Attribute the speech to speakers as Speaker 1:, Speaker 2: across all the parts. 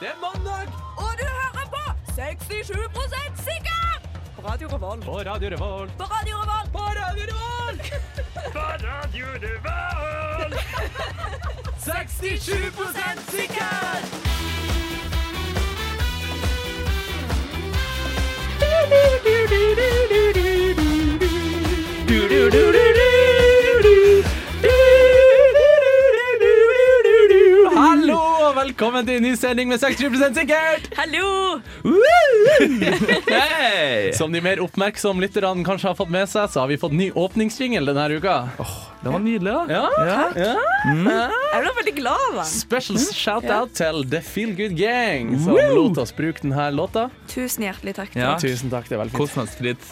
Speaker 1: Det er mandag
Speaker 2: Og du hører på 67 sikker! På Radio Revolt.
Speaker 1: på Radio Revolt.
Speaker 2: På Radio Revolt.
Speaker 1: På Radio Revolt! på Radio Revolt! 67 sikker! Hallo og velkommen til en ny sending med 60 sikkert!
Speaker 2: Hallo!
Speaker 3: Hei!
Speaker 1: Som de mer oppmerksomme lytterne kanskje har fått med seg, så har vi fått ny åpningsjingle denne uka.
Speaker 3: Den var nydelig, da.
Speaker 1: Ja, ja.
Speaker 2: Jeg ble veldig glad av den.
Speaker 1: Special
Speaker 3: Mm.
Speaker 1: shout-out til The Feel Good Gang, som lot oss bruke denne låta.
Speaker 2: Tusen hjertelig takk.
Speaker 3: Ja.
Speaker 1: Tusen takk, det er veldig fint.
Speaker 3: Kostnadsfritt.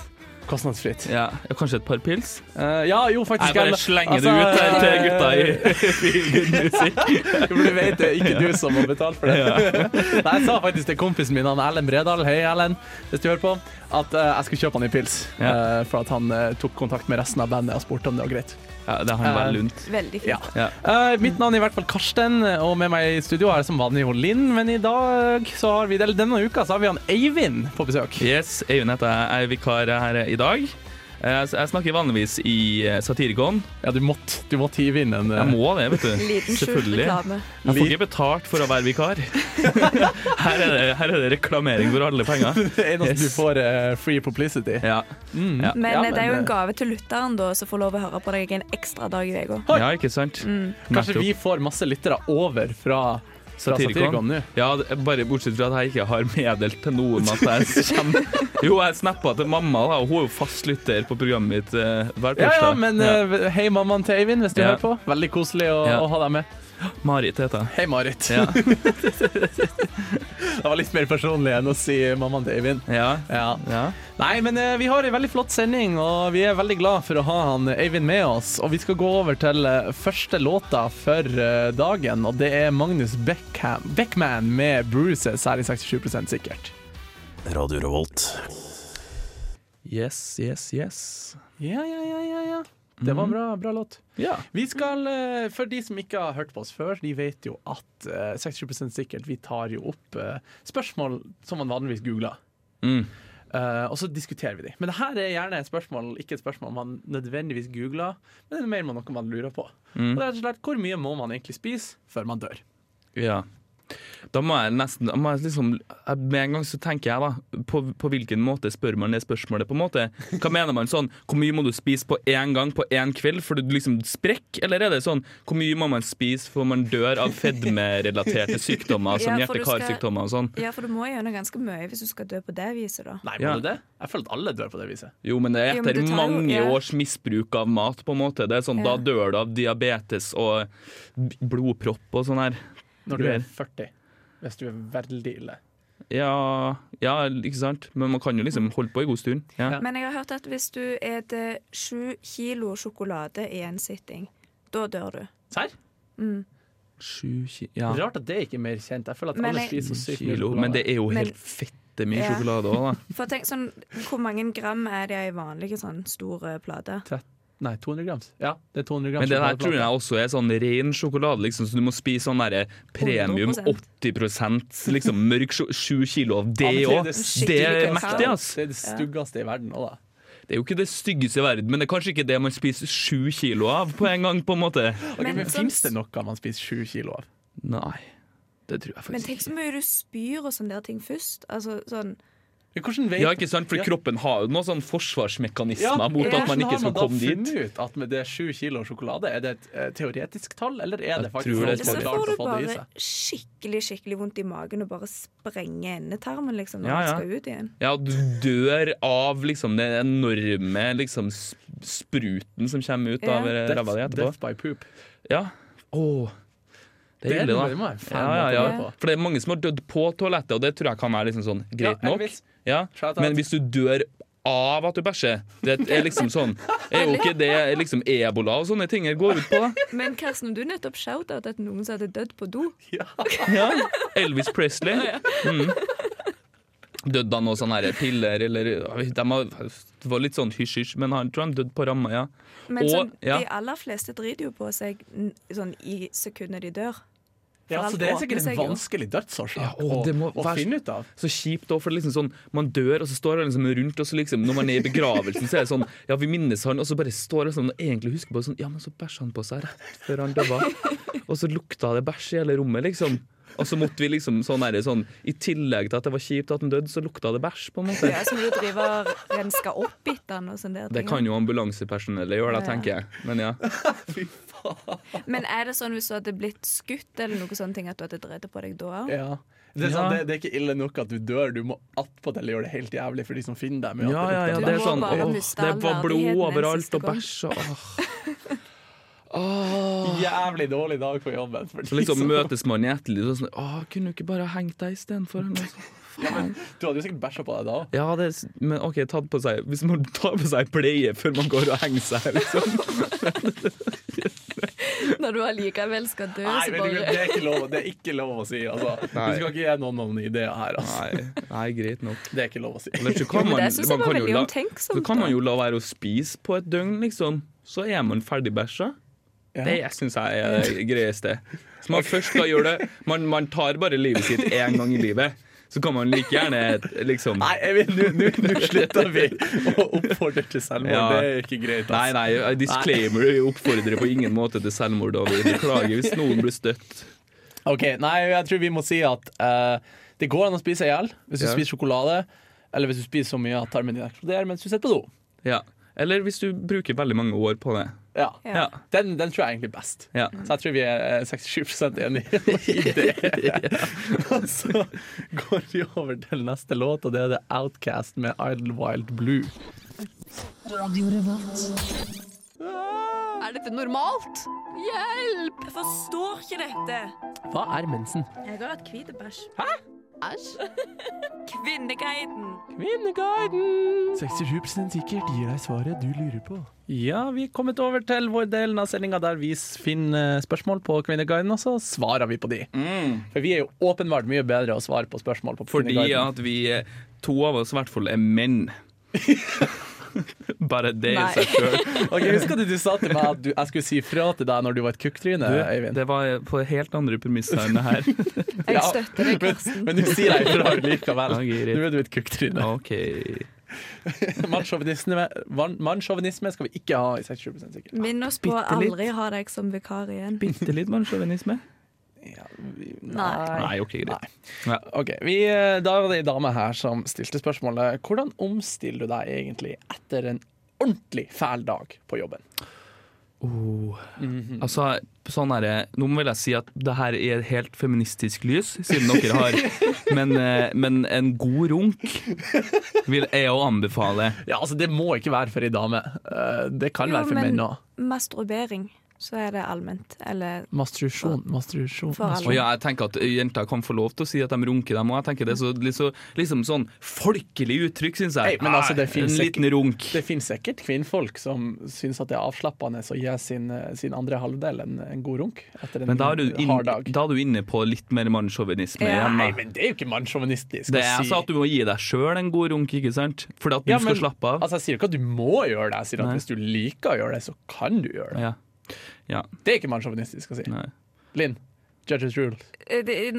Speaker 1: Kostnadsfritt.
Speaker 3: Ja. og Kanskje et par pils?
Speaker 1: Eh, ja, jo, faktisk.
Speaker 3: Jeg bare
Speaker 1: jeg-
Speaker 3: slenger det
Speaker 1: altså,
Speaker 3: ut der til gutta i
Speaker 1: eh, for Du vet det, ikke du som har betalt for det. Nei, jeg sa faktisk til kompisen min, han Erlend Bredal, hei Erlend, hvis du hører på, at eh, jeg skulle kjøpe han en pils.
Speaker 3: Ja.
Speaker 1: eh, for at han eh, tok kontakt med resten av bandet og spurte om det var greit.
Speaker 3: Ja, det har
Speaker 1: Eh,
Speaker 3: vært lunt.
Speaker 2: Veldig fint.
Speaker 1: Ja.
Speaker 3: Ja.
Speaker 1: Eh, mitt navn er i hvert fall Karsten, og med meg i studio er som vanlig hun Linn. Men i dag, så har vi, eller denne uka, så har vi han Eivind på besøk.
Speaker 3: Yes, Eivind heter jeg. Jeg er vikar her i dag. Eh, så Jeg snakker vanligvis i eh, Satirikon.
Speaker 1: Ja, du måtte, du måtte hive inn en eh,
Speaker 3: Jeg må det, vet du.
Speaker 2: Liten skjult
Speaker 3: Selvfølgelig.
Speaker 2: reklame.
Speaker 3: Jeg får ikke betalt for å være vikar. Her er det, her er det reklamering for alle penger.
Speaker 1: Det eneste du
Speaker 3: Yes.
Speaker 1: får eh, free publicity.
Speaker 3: Ja. Ja.
Speaker 2: Men,
Speaker 1: Ja,
Speaker 2: eh, det er jo
Speaker 1: men,
Speaker 2: en gave til lytteren da, som får lov å høre på deg en ekstra dag i uka.
Speaker 1: Oi.
Speaker 3: ja, ikke sant?
Speaker 2: Mm.
Speaker 1: Kanskje
Speaker 3: Nettopp.
Speaker 1: vi får masse lyttere over fra, fra Satirikon
Speaker 3: Satirikon.
Speaker 1: nå.
Speaker 3: Ja, det- bare bortsett fra at jeg ikke har meddelt til noen at jeg kommer. Jo, jeg snappa til mamma, da, og hun er jo fast lytter på programmet mitt eh, hver
Speaker 1: Ja,
Speaker 3: torsdag.
Speaker 1: ja, men
Speaker 3: Ja.
Speaker 1: eh, hei mammaen til Eivind, hvis du
Speaker 3: Ja.
Speaker 1: hører på. Veldig koselig å,
Speaker 3: Ja.
Speaker 1: å ha deg med.
Speaker 3: Marit heter jeg.
Speaker 1: Hei, Marit.
Speaker 3: Ja.
Speaker 1: Det var litt mer personlig enn å si mammaen til Eivind.
Speaker 3: Ja.
Speaker 1: Ja.
Speaker 3: ja.
Speaker 1: Nei, men eh, vi har en veldig flott sending, og vi er veldig glad for å ha han eh, Eivind med oss. Og vi skal gå over til eh, første låta for eh, dagen, og det er Magnus Beckham, Beckman med 'Bruises' her i 67 sikkert.
Speaker 4: Radio Revolt.
Speaker 3: Yes, yes, yes.
Speaker 1: Ja, ja, ja, ja, ja. Mm. Det var en bra, bra låt.
Speaker 3: Ja.
Speaker 1: Vi skal, eh, For de som ikke har hørt på oss før, de vet jo at eh, 67 sikkert vi tar jo opp eh, spørsmål som man vanligvis googler.
Speaker 3: Mm.
Speaker 1: Eh, og så diskuterer vi de. Men det her er gjerne et spørsmål ikke et spørsmål man nødvendigvis googler, men det er mer noe man lurer på.
Speaker 3: Mm.
Speaker 1: Og det er rett og slett, Hvor mye må man egentlig spise før man dør?
Speaker 3: ja. Da må jeg nesten da må jeg liksom, jeg- Med en gang så tenker jeg, da. På, på hvilken måte spør man det spørsmålet? på en måte? Hva mener man sånn? Hvor mye må du spise på én gang på én kveld for du liksom sprekker? Eller er det sånn hvor mye må man spise for man dør av fedmerelaterte sykdommer som
Speaker 2: Ja, for du skal-
Speaker 3: hjerte-karsykdommer og sånn?
Speaker 2: Ja, for du må gjennom ganske mye hvis du skal dø på det viset, da.
Speaker 1: Nei, må
Speaker 3: Ja.
Speaker 1: du det? Jeg føler at alle dør på det viset.
Speaker 3: Jo, men det er
Speaker 2: Jo, men
Speaker 3: etter
Speaker 2: du tar jo-
Speaker 3: mange
Speaker 2: ja.
Speaker 3: års misbruk av mat, på en måte. Det er sånn,
Speaker 2: Ja.
Speaker 3: Da dør du av diabetes og b- blodpropp og sånn her.
Speaker 1: Når du
Speaker 3: Tror jeg.
Speaker 1: er 40. Hvis du er veldig ille.
Speaker 3: Ja, ja, ikke sant? Men man kan jo liksom holde på en god stund. Ja.
Speaker 2: Men jeg har hørt at hvis du spiser sju kilo sjokolade i en sitting, da dør du.
Speaker 1: Serr?
Speaker 3: Sju ki ja.
Speaker 1: Rart at det ikke er mer kjent. Jeg føler at
Speaker 2: Men
Speaker 1: alle
Speaker 2: jeg-
Speaker 1: spiser så sykt mye
Speaker 3: kilo.
Speaker 1: sjokolade.
Speaker 3: Men det er jo
Speaker 2: Men-
Speaker 3: helt fette mye
Speaker 2: Ja.
Speaker 3: sjokolade òg, da.
Speaker 2: For tenk sånn, Hvor mange gram er det i vanlige sånn store plater?
Speaker 1: Nei, 200 grams. Ja, det er 200 grams
Speaker 3: Men det der
Speaker 1: sjokoladeplate.
Speaker 3: tror jeg også er sånn ren sjokolade, liksom, så du må spise sånn derre premium
Speaker 2: 100%.
Speaker 3: 80 liksom mørk sjo- sju kilo av det
Speaker 1: Ja, men
Speaker 3: òg.
Speaker 1: det er
Speaker 2: skikkelig
Speaker 3: Det er
Speaker 2: konstant.
Speaker 3: mektig, ass.
Speaker 1: Det er det styggeste i verden òg, da.
Speaker 3: Det er jo ikke det styggeste i verden, men det er kanskje ikke det man spiser sju kilo av på en gang, på en måte.
Speaker 1: Ok, men
Speaker 2: Men sånn-
Speaker 1: Fins det noe man spiser sju kilo av?
Speaker 3: Nei, det tror jeg
Speaker 2: Men
Speaker 3: faktisk
Speaker 2: tenk
Speaker 3: ikke.
Speaker 2: så mye du spyr og sånne der ting først. Altså sånn
Speaker 1: Hvordan vet
Speaker 3: Ja, ikke sant? For
Speaker 1: Ja.
Speaker 3: kroppen har jo noen sånn forsvarsmekanismer
Speaker 1: Ja,
Speaker 3: mot
Speaker 2: ja.
Speaker 3: at man ikke skal komme
Speaker 1: Hvordan har man
Speaker 3: dit.
Speaker 1: da funnet ut at med det er sju kilo sjokolade, er det et eh, teoretisk tall, eller er det faktisk
Speaker 3: Jeg tror det er
Speaker 1: noen
Speaker 3: et
Speaker 1: som
Speaker 2: Så
Speaker 3: teoretisk
Speaker 1: har klart
Speaker 2: får du
Speaker 1: å få det i
Speaker 2: bare
Speaker 1: seg?
Speaker 2: skikkelig skikkelig vondt i magen og bare sprenger endetarmen liksom, når
Speaker 3: Ja,
Speaker 2: man
Speaker 3: ja.
Speaker 2: skal ut igjen.
Speaker 3: Ja, du dør av liksom den enorme liksom, s- spruten som kommer ut av eh,
Speaker 2: Ja.
Speaker 3: ræva di
Speaker 1: Death,
Speaker 3: etterpå.
Speaker 1: death by poop.
Speaker 3: Ja. Åh. Det er ille,
Speaker 1: Det
Speaker 3: da.
Speaker 1: må jeg faen
Speaker 3: Ja, ja,
Speaker 1: meg
Speaker 3: ja.
Speaker 1: ta på.
Speaker 3: For det er mange som har dødd på toalettet, og det tror jeg kan være liksom sånn greit
Speaker 1: Ja,
Speaker 3: nok.
Speaker 1: Elvis.
Speaker 3: Ja.
Speaker 1: Shout out.
Speaker 3: Men hvis du dør av at du bæsjer, det er liksom sånn Er jo ikke det liksom ebola og sånne ting det går ut på, da?
Speaker 2: Men Karsten, du nettopp shout-out at noen som hadde dødd på do.
Speaker 3: Ja. Elvis Presley. Mm. Døde han av sånne her piller, eller de har- Det var litt sånn hysj-hysj, men han tror han døde på ramma, ja.
Speaker 2: Men
Speaker 3: Og-
Speaker 2: sånn,
Speaker 3: ja.
Speaker 2: de aller fleste driter jo på seg n- sånn i sekundet de dør.
Speaker 1: Ja,
Speaker 2: For
Speaker 1: så
Speaker 2: alt
Speaker 1: det er
Speaker 2: åpner
Speaker 1: sikkert
Speaker 2: seg
Speaker 1: en
Speaker 2: jo.
Speaker 1: vanskelig
Speaker 3: Ja,
Speaker 1: dødsårsak
Speaker 3: og
Speaker 1: å,
Speaker 3: det må
Speaker 1: å
Speaker 3: være-
Speaker 1: finne ut av.
Speaker 3: Så kjipt også, for det er liksom sånn, man dør, og så står han liksom rundt, og så liksom, når man er i begravelsen, så er det sånn, ja, vi minnes han, og så bare står han sånn, og egentlig husker på det sånn, ja, men så bæsja han på seg rett før han døde. Og så lukta det bæsj i hele rommet, liksom. Og så måtte vi liksom sånn her, sånn, i tillegg til at det var kjipt at han døde, så lukta det bæsj, på en måte.
Speaker 2: Ja, så må du drive og renske opp etter den og sånne der
Speaker 3: Det
Speaker 2: ting.
Speaker 3: kan jo ambulansepersonellet gjøre, da, tenker jeg. Men ja.
Speaker 2: Men er det sånn hvis du hadde blitt skutt eller noe sånne ting, at du hadde drevet på deg da?
Speaker 1: Ja. Det, er sånn,
Speaker 3: Ja.
Speaker 1: det, det er ikke ille nok at du dør, du må attpåtil gjøre det helt jævlig for de som finner deg. med at
Speaker 3: Ja, ja, ja,
Speaker 2: Du
Speaker 1: det
Speaker 3: det er
Speaker 2: må
Speaker 3: sånn
Speaker 2: bare
Speaker 3: åh,
Speaker 2: miste
Speaker 3: Det
Speaker 2: all
Speaker 3: var blod
Speaker 2: verdigheten en
Speaker 3: overalt
Speaker 2: siste
Speaker 3: og
Speaker 2: gang.
Speaker 3: bæsj og åh.
Speaker 1: lukter Jævlig dårlig dag på jobben. For
Speaker 3: Så
Speaker 1: de
Speaker 3: liksom
Speaker 1: som-
Speaker 3: møtes man i etterliv og sånn Åh, kunne du ikke bare ha hengt deg istedenfor? eller noe sånt?
Speaker 1: du hadde jo sikkert bæsja på deg da òg.
Speaker 3: Ja, det, er s- men OK, tatt på seg Hvis man tar på seg pleie før man går og henger seg, liksom.
Speaker 2: Når du allikevel skal dø,
Speaker 1: Nei, vet
Speaker 2: så
Speaker 1: du,
Speaker 2: bare
Speaker 1: det er ikke lov, det er ikke lov å si. Altså.
Speaker 3: Nei.
Speaker 1: Du skal ikke gi noen noen ideer her. Altså.
Speaker 3: Nei, nei, greit nok.
Speaker 1: Det er ikke lov å si.
Speaker 3: Ellers så kan
Speaker 2: Men
Speaker 3: man,
Speaker 2: det synes jeg
Speaker 3: man
Speaker 2: var
Speaker 3: kan jo
Speaker 2: veldig
Speaker 3: la,
Speaker 2: omtenksomt,
Speaker 3: så kan man
Speaker 2: da.
Speaker 3: jo la være å spise på et døgn, liksom. Så er man ferdig bæsja. Det syns jeg er det greieste. Så man først skal gjøre det Man, man tar bare livet sitt én gang i livet. Så kan man like gjerne liksom
Speaker 1: Nei, jeg vil- nå- nå nå slutter vi å oppfordre til selvmord.
Speaker 3: Ja.
Speaker 1: Det er ikke greit.
Speaker 3: Nei,
Speaker 1: Altså.
Speaker 3: nei, jeg disclaimer. Jeg oppfordrer på ingen måte til selvmord. David. Beklager hvis noen blir støtt.
Speaker 1: Ok, nei, jeg tror vi må si at eh, det går an å spise i hjel hvis du
Speaker 3: Ja.
Speaker 1: spiser sjokolade. Eller hvis du spiser så mye at tarmen din eksploderer mens du sitter på do.
Speaker 3: Ja. Eller hvis du bruker veldig mange år på det.
Speaker 1: Ja.
Speaker 3: Ja.
Speaker 1: Den, den tror jeg egentlig er best.
Speaker 3: Ja.
Speaker 1: Så jeg tror vi er eh, 67 enige i det. Og så går vi over til neste låt, og det er The Outcast med Idle Wild Blue.
Speaker 5: Radio Revolt.
Speaker 2: Er dette normalt? Hjelp! Jeg forstår ikke dette.
Speaker 1: Hva er mensen?
Speaker 2: Jeg har hatt hvit bæsj. Hæ? Æsj. Kvinneguiden.
Speaker 1: Kvinneguiden! 67 sikkert gir deg svaret du lurer på. Ja, vi er kommet over til vår delen av sendinga der vi finner spørsmål på Kvinneguiden, og så svarer vi på de.
Speaker 3: Mm.
Speaker 1: For vi er jo åpenbart mye bedre å svare på spørsmål på
Speaker 3: Fordi
Speaker 1: Kvinneguiden.
Speaker 3: at vi eh, to av oss i hvert fall er menn. Bare det i
Speaker 2: Nei.
Speaker 3: seg sjøl.
Speaker 1: Ok, Husker du du sa til meg at du, jeg skulle si fra til deg når du var et kukktryne, Øyvind?
Speaker 3: Det var eh, på helt andre premisser enn det her.
Speaker 2: Jeg støtter deg, Karsten.
Speaker 1: Men du sier jeg ifra likevel.
Speaker 3: Ja, greit.
Speaker 1: Nå er du et kukktryne.
Speaker 3: OK.
Speaker 1: Mannssjåvinisme mannssjåvinisme skal vi ikke ha i 67 sikkert.
Speaker 2: Minn oss på å
Speaker 3: Bitte litt.
Speaker 2: aldri ha deg som vikar igjen.
Speaker 3: Bitte litt mannssjåvinisme? Nei, OK, greit. Ja.
Speaker 1: Ok, vi, eh, Da var det ei dame her som stilte spørsmålet Hvordan omstiller du deg egentlig etter en ordentlig fæl dag på jobben?
Speaker 3: Oh. Altså, sånn er det. Nå vil jeg si at det her er helt feministisk lys, siden dere har Men, eh, men en god runk vil jeg å anbefale.
Speaker 1: Ja, altså Det må ikke være for ei dame. Eh, Det kan
Speaker 2: Jo,
Speaker 1: være for
Speaker 2: men-
Speaker 1: menn òg.
Speaker 2: Masturbering, så er det allment. Eller
Speaker 1: Mastrusjon, mastrusjon.
Speaker 2: for
Speaker 3: Og
Speaker 2: alle.
Speaker 3: ja, jeg tenker at jenter kan få lov til å si at de runker, dem òg. Jeg tenker det er så, liksom, liksom sånn folkelig uttrykk, syns
Speaker 1: Hey,
Speaker 3: jeg.
Speaker 1: men altså, det
Speaker 3: Ah,
Speaker 1: finnes
Speaker 3: en liten runk.
Speaker 1: Det finnes sikkert kvinnfolk som syns at det er avslappende å gi sin, eh, sin andre halvdel en, en god runk etter en
Speaker 3: Men da er, du inn,
Speaker 1: Mm, hard dag.
Speaker 3: da er du inne på litt mer mannssjåvinisme
Speaker 2: Ja.
Speaker 3: igjen.
Speaker 1: Nei,
Speaker 3: Da.
Speaker 1: men det er jo ikke mannssjåvinistisk. å
Speaker 3: Det er
Speaker 1: si-
Speaker 3: altså at du må gi deg sjøl en god runk, ikke sant? Fordi at du
Speaker 1: Ja,
Speaker 3: skal
Speaker 1: men-
Speaker 3: slappe av.
Speaker 1: Altså, Jeg sier ikke at du må gjøre det, jeg sier at
Speaker 3: Nei.
Speaker 1: hvis du liker å gjøre det, så kan du gjøre det.
Speaker 3: Ja. ja.
Speaker 1: Det er ikke mannssjåvinistisk å si.
Speaker 3: Nei.
Speaker 1: Linn, judges rule.
Speaker 2: Eh, det-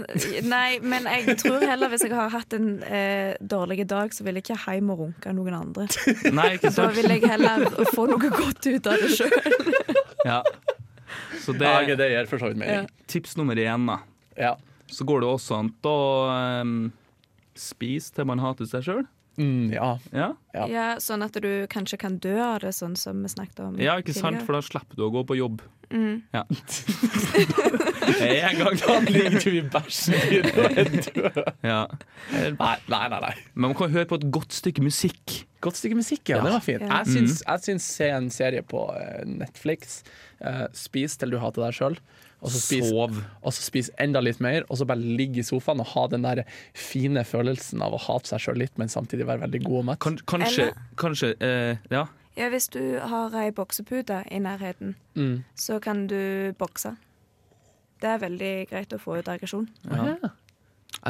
Speaker 2: Nei, men jeg tror heller hvis jeg har hatt en eh, dårlig dag, så vil jeg ikke hjem og runke noen andre.
Speaker 3: Nei, ikke
Speaker 2: Da
Speaker 3: sant?
Speaker 2: vil jeg heller få noe godt ut av det sjøl.
Speaker 3: Ja. Så det
Speaker 1: Ja,
Speaker 3: er
Speaker 1: ok, det gir for så vidt mening.
Speaker 3: tips nummer én, da.
Speaker 1: Ja.
Speaker 3: Så går det også an å ehm, spise til man hater seg sjøl.
Speaker 1: Mm, ja.
Speaker 3: Ja.
Speaker 1: Ja.
Speaker 2: Ja, sånn at du kanskje kan dø av det, sånn som vi snakket om
Speaker 3: ja, ikke sant?
Speaker 2: tidligere.
Speaker 3: For da slipper du å gå på jobb. Ja. en gang da.
Speaker 1: Ligger du i bæsjen din og er død?
Speaker 3: Ja.
Speaker 1: Nei, nei, nei. nei.
Speaker 3: Men man kan høre på et godt stykke musikk.
Speaker 1: Godt stykke musikk, ja.
Speaker 3: Ja.
Speaker 1: Det var fint.
Speaker 2: Ja.
Speaker 1: Jeg syns, jeg syns se en serie på eh, Netflix. Eh, spis til du hater deg sjøl. Og så spis,
Speaker 3: Sov.
Speaker 1: og så spis enda litt mer, og så bare ligge i sofaen og ha den der fine følelsen av å hate seg sjøl litt, men samtidig være veldig god og mett.
Speaker 3: Kan, kanskje
Speaker 2: Eller-
Speaker 3: Kanskje eh, Ja.
Speaker 2: Ja, hvis du har ei boksepute i nærheten,
Speaker 1: Mm.
Speaker 2: så kan du bokse. Det er veldig greit å få ut aggresjon.
Speaker 1: Ja.
Speaker 3: Jeg,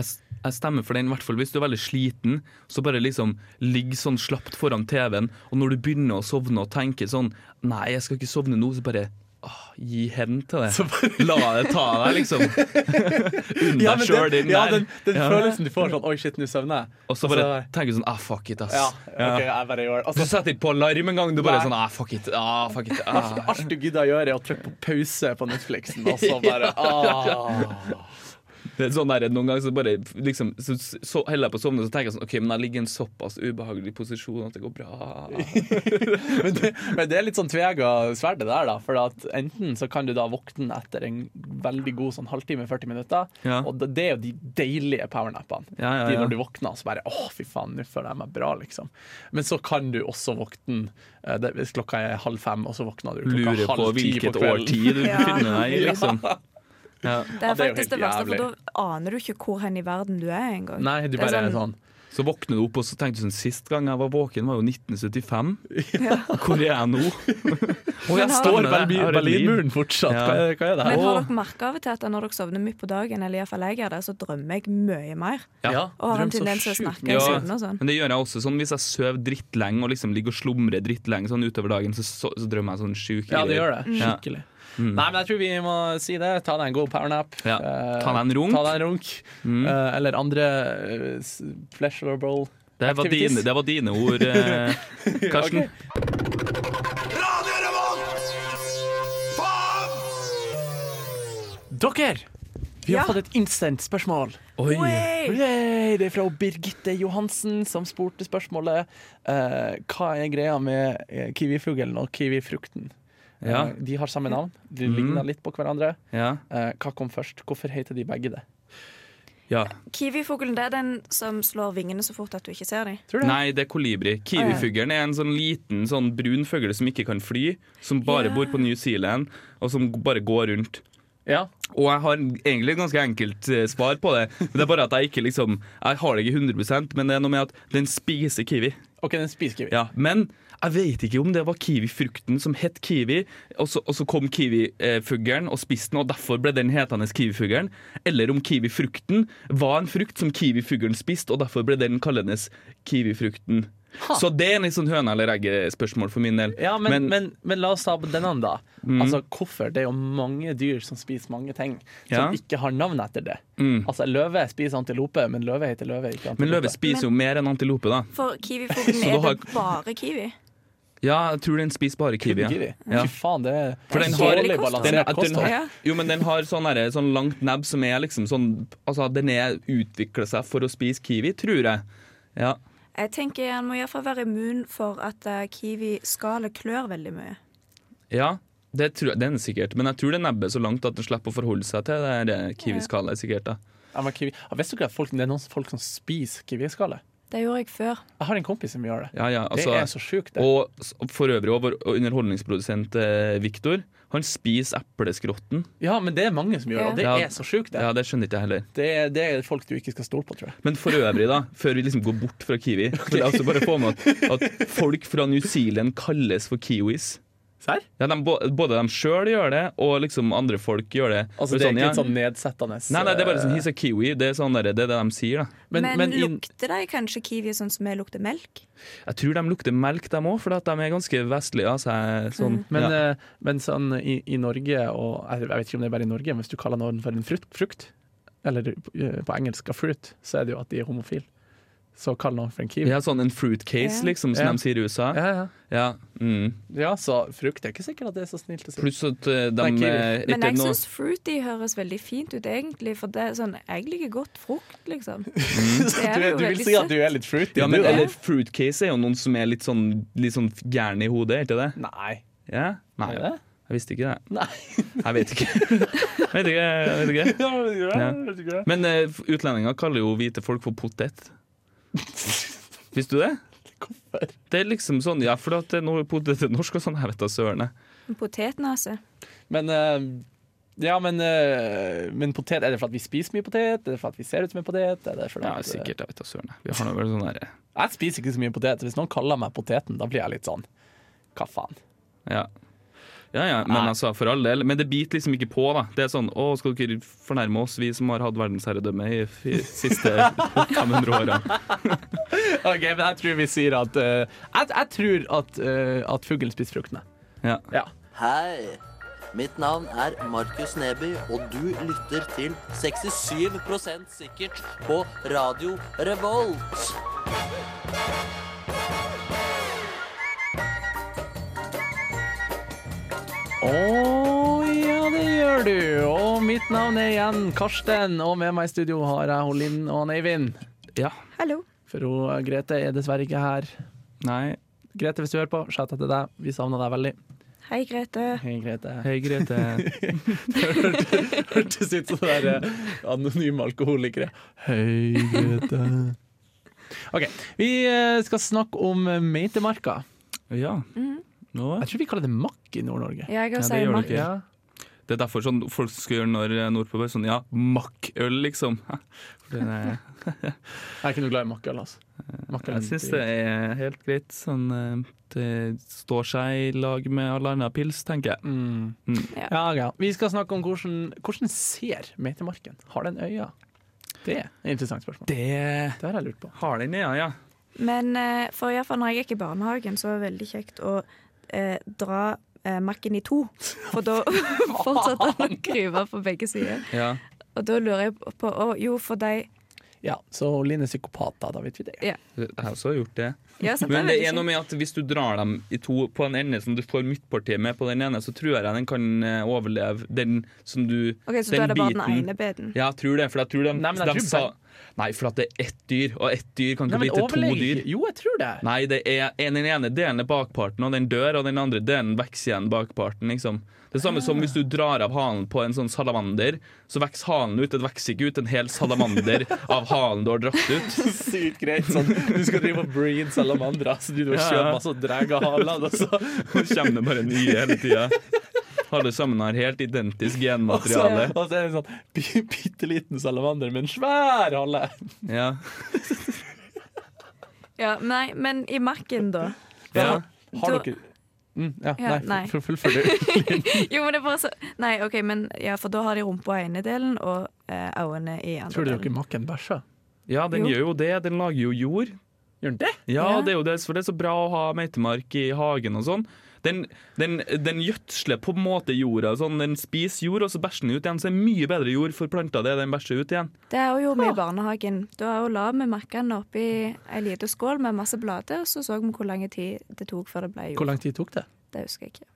Speaker 3: s- jeg stemmer for den, i hvert fall hvis du er veldig sliten. Så bare liksom ligg sånn slapt foran TV-en, og når du begynner å sovne og tenker sånn Nei, jeg skal ikke sovne nå, så bare «Åh, gi hen til
Speaker 1: Så
Speaker 3: det.
Speaker 1: bare
Speaker 3: La det ta deg, liksom. Unn
Speaker 1: Ja,
Speaker 3: deg
Speaker 1: men
Speaker 3: sjøl
Speaker 1: den,
Speaker 3: den
Speaker 1: ja,
Speaker 3: der.
Speaker 1: den, den
Speaker 3: Ja.
Speaker 1: følelsen du får sånn Oi, shit, nå søvner jeg.
Speaker 3: Og så bare tenker du sånn ah, fuck it, ass.
Speaker 1: Ja,
Speaker 3: Ja.
Speaker 1: OK, jeg bare gjør det.
Speaker 3: Du
Speaker 1: Altså,
Speaker 3: setter ikke på alarm engang. Du bare
Speaker 1: Nei.
Speaker 3: sånn ah, fuck it. Ah, fuck it. Ah.
Speaker 1: alt du gidder å gjøre, er å trykke på pause på Netflixen, og så bare ah.
Speaker 3: Det er sånn der, Noen ganger så bare liksom, så, så holder jeg på å sovne, og så tenker jeg sånn OK, men jeg ligger i en såpass ubehagelig posisjon at det går bra.
Speaker 1: men, det, men det er litt sånn tvega sverd det der, da. For at enten så kan du da våkne etter en veldig god sånn halvtime, 40 minutter,
Speaker 3: Ja.
Speaker 1: og det, det er jo de deilige powernappene.
Speaker 3: Ja, ja,
Speaker 1: De
Speaker 3: ja.
Speaker 1: når du våkner, så bare Å, fy faen, nå føler jeg meg bra, liksom. Men så kan du også våkne eh, det, hvis klokka er halv fem, og så våkner du klokka
Speaker 3: Lurer på
Speaker 1: halv ti på
Speaker 3: hvilket
Speaker 1: kvelden.
Speaker 3: årtid du
Speaker 2: Ja.
Speaker 3: befinner deg i, liksom. Ja.
Speaker 2: Det er
Speaker 1: det er jo
Speaker 2: faktisk
Speaker 1: helt
Speaker 2: det verste, for
Speaker 1: jævlig.
Speaker 2: da aner du ikke hvor hen i verden du er engang.
Speaker 1: Nei, du
Speaker 2: Det er
Speaker 1: bare er sånn
Speaker 2: sånn-
Speaker 3: Så våkner du opp, og så tenker du sånn Sist gang jeg var våken, var jo 1975. Hvor er jeg nå? Og
Speaker 2: Men har- Står
Speaker 3: Jeg har et liv.
Speaker 1: Berlinmuren fortsatt.
Speaker 3: Ja.
Speaker 1: Hva, er, hva er det
Speaker 2: Men
Speaker 1: her?
Speaker 2: har
Speaker 3: Åh.
Speaker 2: dere merka av og til at når dere sovner midt på dagen, eller iallfall jeg gjør det, så drømmer jeg mye mer?
Speaker 3: Ja.
Speaker 2: Og har
Speaker 1: Drøm
Speaker 2: en
Speaker 1: så
Speaker 2: tendens til å
Speaker 1: sjukt
Speaker 2: snakke
Speaker 1: mye.
Speaker 2: i
Speaker 3: Ja,
Speaker 2: søvne og sånn.
Speaker 3: Men det gjør jeg også sånn hvis jeg sover drittlenge og liksom ligger og slumrer drittlenge sånn utover dagen, så, så, så drømmer jeg sånn sjuke
Speaker 1: Ja, det Mm. gjør det.
Speaker 2: Mm.
Speaker 3: Ja.
Speaker 1: Skikkelig. Nei, men jeg tror vi må si det. Ta deg en god powernap.
Speaker 3: Ja.
Speaker 1: Eh,
Speaker 3: Ta deg en runk.
Speaker 1: Ta deg en runk.
Speaker 3: Mm.
Speaker 1: Eh, eller andre eh, s- pleasurable
Speaker 3: Det, var
Speaker 1: Activities.
Speaker 3: dine, det var dine ord, eh, Karsten.
Speaker 1: Ok.
Speaker 4: Radio Revolt! Faen!
Speaker 1: Dere! Vi har
Speaker 2: Ja.
Speaker 1: fått et instant spørsmål.
Speaker 3: Oi!
Speaker 2: Oi!
Speaker 1: Yay, det er fra Birgitte Johansen, som spurte spørsmålet eh, Hva er greia med eh, kiwifuglen og kiwifrukten.
Speaker 3: Ja. Mm.
Speaker 1: Eh, de har samme navn. De ligner litt på hverandre.
Speaker 3: Ja.
Speaker 1: Eh, hva kom først? Hvorfor heter de begge det?
Speaker 3: ja.
Speaker 2: Kiwifuglen det er den som slår vingene så fort at du ikke ser dem.
Speaker 1: Tror du det?
Speaker 3: Nei, det er kolibri. Kiwifuglen er en sånn liten sånn brun fugl som ikke kan fly, som bare
Speaker 2: Ja.
Speaker 3: bor på New Zealand, og som g- bare går rundt.
Speaker 1: Ja.
Speaker 3: Og jeg har egentlig et ganske enkelt eh, svar på det. Men det er bare at jeg ikke liksom Jeg har det ikke 100 men det er noe med at den spiser kiwi.
Speaker 1: OK, den spiser kiwi.
Speaker 3: Ja, Men jeg vet ikke om det var kiwifrukten som het kiwi, og så, og så kom kiwifuglen og spiste den, og derfor ble den hetende kiwifuglen. Eller om kiwifrukten var en frukt som kiwifuglen spiste, og derfor ble den kallende kiwifrukten. Så det er en litt sånn høna eller egget-spørsmål for min del.
Speaker 1: Ja, men, men, men, la oss ta på denne, da.
Speaker 3: Mm.
Speaker 1: Altså, hvorfor? Det er jo mange dyr som spiser mange ting, som
Speaker 3: Ja.
Speaker 1: ikke har navn etter det.
Speaker 3: Mm.
Speaker 1: Altså, løve spiser antilope, men løve heter løve, ikke antilope.
Speaker 3: men løve spiser jo mer enn antilope, da.
Speaker 2: For kiwifuglen
Speaker 3: Så
Speaker 2: er
Speaker 3: du har-
Speaker 2: det bare kiwi.
Speaker 3: Ja, jeg tror den spiser bare
Speaker 1: Kun
Speaker 3: kiwi. ja.
Speaker 1: kiwi.
Speaker 3: Ja.
Speaker 1: Fy faen, det er
Speaker 3: For den
Speaker 1: så
Speaker 3: har-
Speaker 1: dårlig
Speaker 3: Den,
Speaker 1: balansert
Speaker 3: at den
Speaker 1: kosthold.
Speaker 3: har, jo, men den har sånn, derre- sånn langt nebb som er liksom sånn Altså, den er utvikla seg for å spise kiwi, tror jeg. Ja.
Speaker 2: Jeg tenker Han må iallfall være immun for at eh, kiwi-skallet klør veldig mye.
Speaker 3: ja det tror jeg, den er sikkert. Men jeg tror det nebbet er så langt at den slipper å forholde seg til det der, eh, kiwiskallet. sikkert da.
Speaker 1: Ja, men kiwi. Ja, Visste dere at folk, det er noen folk som spiser kiwiskalle?
Speaker 2: Det gjorde jeg før.
Speaker 1: Jeg har en kompis som gjør det.
Speaker 3: Ja, ja, altså,
Speaker 1: det er så sjukt, det.
Speaker 3: Og s- for øvrig også vår underholdningsprodusent eh, Viktor. Han spiser epleskrotten.
Speaker 1: Ja, men det er mange som gjør det, og det
Speaker 3: Ja.
Speaker 1: er så sjukt, det.
Speaker 3: Ja, Det skjønner ikke jeg heller.
Speaker 1: Det er, det er folk du ikke skal stole på, tror jeg.
Speaker 3: Men for øvrig, da, før vi liksom går bort fra kiwi, vil jeg også altså bare få med at, at folk fra New Zealand kalles for kiwis.
Speaker 1: Serr?
Speaker 3: Ja, de, bo- både de sjøl gjør det, og liksom andre folk gjør det.
Speaker 1: Altså, det er ikke et sånn nedsettende eh,
Speaker 3: Nei, nei, det er bare sånn He's a kiwi. Det er, sånn der, det, er det de sier, da.
Speaker 1: Men,
Speaker 2: Men,
Speaker 1: men, inn-
Speaker 2: lukter de kanskje kiwi sånn som jeg lukter melk?
Speaker 3: Jeg tror de lukter melk, de òg, for at de er ganske vestlige av seg. Sånn.
Speaker 1: Men,
Speaker 3: ja.
Speaker 1: eh, men sånn i, i Norge, og jeg, jeg vet ikke om det er bare i Norge, men hvis du kaller noen for en frukt, frukt eller eh, på engelsk a fruit, så er det jo at de er homofile. Så kall noen for en kiwi.
Speaker 3: ja, sånn en fruitcase,
Speaker 2: Ja.
Speaker 3: liksom, som
Speaker 1: Ja.
Speaker 3: de sier i USA.
Speaker 1: Ja, ja.
Speaker 3: Ja. Mm.
Speaker 1: ja, så frukt det er ikke sikkert at det er så snilt å si.
Speaker 3: Pluss at eh, de
Speaker 1: Nei, kiwi.
Speaker 3: eh,
Speaker 2: Men
Speaker 3: ikke
Speaker 2: jeg
Speaker 3: noe
Speaker 2: syns fruity høres veldig fint ut, egentlig. For det er sånn, jeg liker godt frukt, liksom.
Speaker 1: Så
Speaker 2: Det
Speaker 1: du, du
Speaker 2: er jo
Speaker 1: vil
Speaker 2: veldig
Speaker 1: si at du er litt fruity,
Speaker 3: ja, men,
Speaker 1: du, da?
Speaker 3: Eller fruitcase er jo noen som er litt sånn, litt sånn gærne i hodet, er ikke det?
Speaker 1: Nei.
Speaker 3: Ja? Nei,
Speaker 1: Er det?
Speaker 3: jeg visste ikke det.
Speaker 1: Nei.
Speaker 3: Jeg vet ikke. jeg vet ikke, jeg vet ikke.
Speaker 1: Ja, men det er
Speaker 3: Ja.
Speaker 1: det ikke det?
Speaker 3: Men eh, utlendinger kaller jo hvite folk for potet. Visste du det?
Speaker 1: Hvorfor?
Speaker 3: Det er liksom sånn, ja, for at det er noe potet er norsk og sånn, jeg vet da søren. jeg.
Speaker 2: En Potetnase.
Speaker 1: Men eh, ja, men, eh, men potet, er det for at vi spiser mye potet? Er det for at vi ser ut som en potet? Er det for
Speaker 3: Ja,
Speaker 1: at,
Speaker 3: sikkert, jeg vet da søren. jeg. Vi har noe vel sånn der,
Speaker 1: Jeg spiser ikke så mye potet, så hvis noen kaller meg poteten, da blir jeg litt sånn Hva faen?
Speaker 3: ja. Ja, ja, men
Speaker 1: Nei.
Speaker 3: altså, for all del. Men det biter liksom ikke på, da. Det er sånn, å, skal dere fornærme oss, vi som har hatt verdensherredømme i de siste 500 årene.
Speaker 1: Ok, men jeg tror vi sier at eh, jeg, jeg tror at, uh, at fuglen spiser fruktene.
Speaker 3: Ja.
Speaker 1: Ja.
Speaker 6: Hei, Mitt navn er Markus Neby, og du lytter til 67 sikkert på Radio Revolt.
Speaker 1: Å ja, det gjør du. Og mitt navn er igjen Karsten, og med meg i studio har jeg hun Linn og han Eivind.
Speaker 3: Ja.
Speaker 2: Hallo.
Speaker 1: For hun, eh, Grete er dessverre ikke her.
Speaker 3: Nei.
Speaker 1: Grete, hvis du hører på, shout out til deg. Vi savner deg veldig.
Speaker 2: Hei, Grete.
Speaker 1: Hei, Grete.
Speaker 3: Hei, Grete.
Speaker 1: Hørtes ut som det der eh, anonyme alkoholikere. Hei, Grete. OK. Vi eh, skal snakke om eh, meitemarka.
Speaker 3: Ja. Nå.
Speaker 1: Jeg tror vi kaller det makk i Nord-Norge.
Speaker 2: Ja, jeg
Speaker 3: Ja,
Speaker 2: også
Speaker 3: det
Speaker 2: er
Speaker 3: gjør du
Speaker 2: Mark.
Speaker 3: ikke. Det er derfor sånn, folk skal gjøre når nordpå bør sånn Ja, makkøl, liksom. For det er,
Speaker 1: Jeg er ikke noe glad i makkøl, altså. Makkøl er
Speaker 3: Eh, jeg syns det er helt greit. Sånn, eh, det står seg i lag med all annen pils, tenker jeg.
Speaker 1: Mm.
Speaker 2: Ja.
Speaker 1: Ja, ja. Vi skal snakke om hvordan, hvordan ser meitemarken? Har den øyne? Det er et interessant spørsmål.
Speaker 3: Det
Speaker 1: Det har jeg lurt på.
Speaker 3: har den, ja. ja.
Speaker 2: Men eh, for i hvert fall når jeg gikk i barnehagen, så var det veldig kjekt å eh, dra eh, makken i to. For da fortsatte han å krype på begge sider.
Speaker 3: ja.
Speaker 2: Og da lurer jeg på å, Jo, for de
Speaker 1: Ja, så Linn er psykopat, da. Da vet vi det.
Speaker 2: Ja.
Speaker 3: Jeg har også gjort det.
Speaker 2: Ja, sant,
Speaker 3: Men det er
Speaker 2: veldig
Speaker 3: noe med at hvis du drar dem i to på en ende, som du får midtpartiet med på den ene, så tror jeg den kan eh, overleve den som du
Speaker 2: kjekt. OK,
Speaker 3: den
Speaker 2: så da er det bare den
Speaker 3: biten-
Speaker 2: ene beden.
Speaker 3: Ja, jeg tror det. For jeg tror de,
Speaker 1: Nei, men jeg
Speaker 3: de
Speaker 1: tror
Speaker 3: sa Nei, for at det er ett dyr, og ett dyr kan
Speaker 1: Nei, men
Speaker 3: ikke bli til to
Speaker 1: overlever
Speaker 3: dyr.
Speaker 1: ikke. Jo, jeg tror det.
Speaker 3: Nei, det er en, den ene delen er bakparten, og den dør, og den andre delen vokser igjen bakparten. Liksom. Det samme som hvis du drar av halen på en sånn salamander, så vokser halen ut. Det vokser ikke ut en hel salamander av halen du har dratt ut.
Speaker 1: Sykt greit. Sånn, du skal drive og breed salamandra, så du driver og
Speaker 3: Ja, ja.
Speaker 1: kjøper masse og drar av halene, og så
Speaker 3: Så kommer det bare nye hele tida. Alle sammen har helt identisk
Speaker 1: og så
Speaker 3: genmateriale.
Speaker 1: og så er det en sånn bi- bitte liten salamander med en svær hale.
Speaker 3: Ja.
Speaker 2: Ja, nei, men i marken, da.
Speaker 3: Ja.
Speaker 1: Har
Speaker 2: Da-
Speaker 1: dere mm, Ja,
Speaker 2: Ja,
Speaker 1: nei,
Speaker 2: nei.
Speaker 1: f- fullfør du.
Speaker 2: Jo, men det er bare så Nei, OK, men ja, for da har de rumpa i ene delen og eh, øynene i andre
Speaker 1: Tror dere
Speaker 2: delen.
Speaker 1: makken bæsjer?
Speaker 3: ja, den
Speaker 2: Jo.
Speaker 3: gjør jo det. Den lager jo jord.
Speaker 1: Gjør den det?
Speaker 3: Ja,
Speaker 2: Ja.
Speaker 3: det er jo det, for det er så bra å ha meitemark i hagen og sånn. Den, den, den gjødsler på en måte jorda. og Sånn. Den spiser jord, og så bæsjer den ut igjen. Så det er mye bedre jord for planta det den bæsjer ut igjen.
Speaker 2: Det er jo vi i barnehagen. Da er jo la vi makkene oppi ei lita skål med masse blader, og så så vi hvor lang tid det tok før det ble
Speaker 1: Hvor
Speaker 2: jord.
Speaker 1: lang tid tok det?
Speaker 2: Det husker jeg ikke.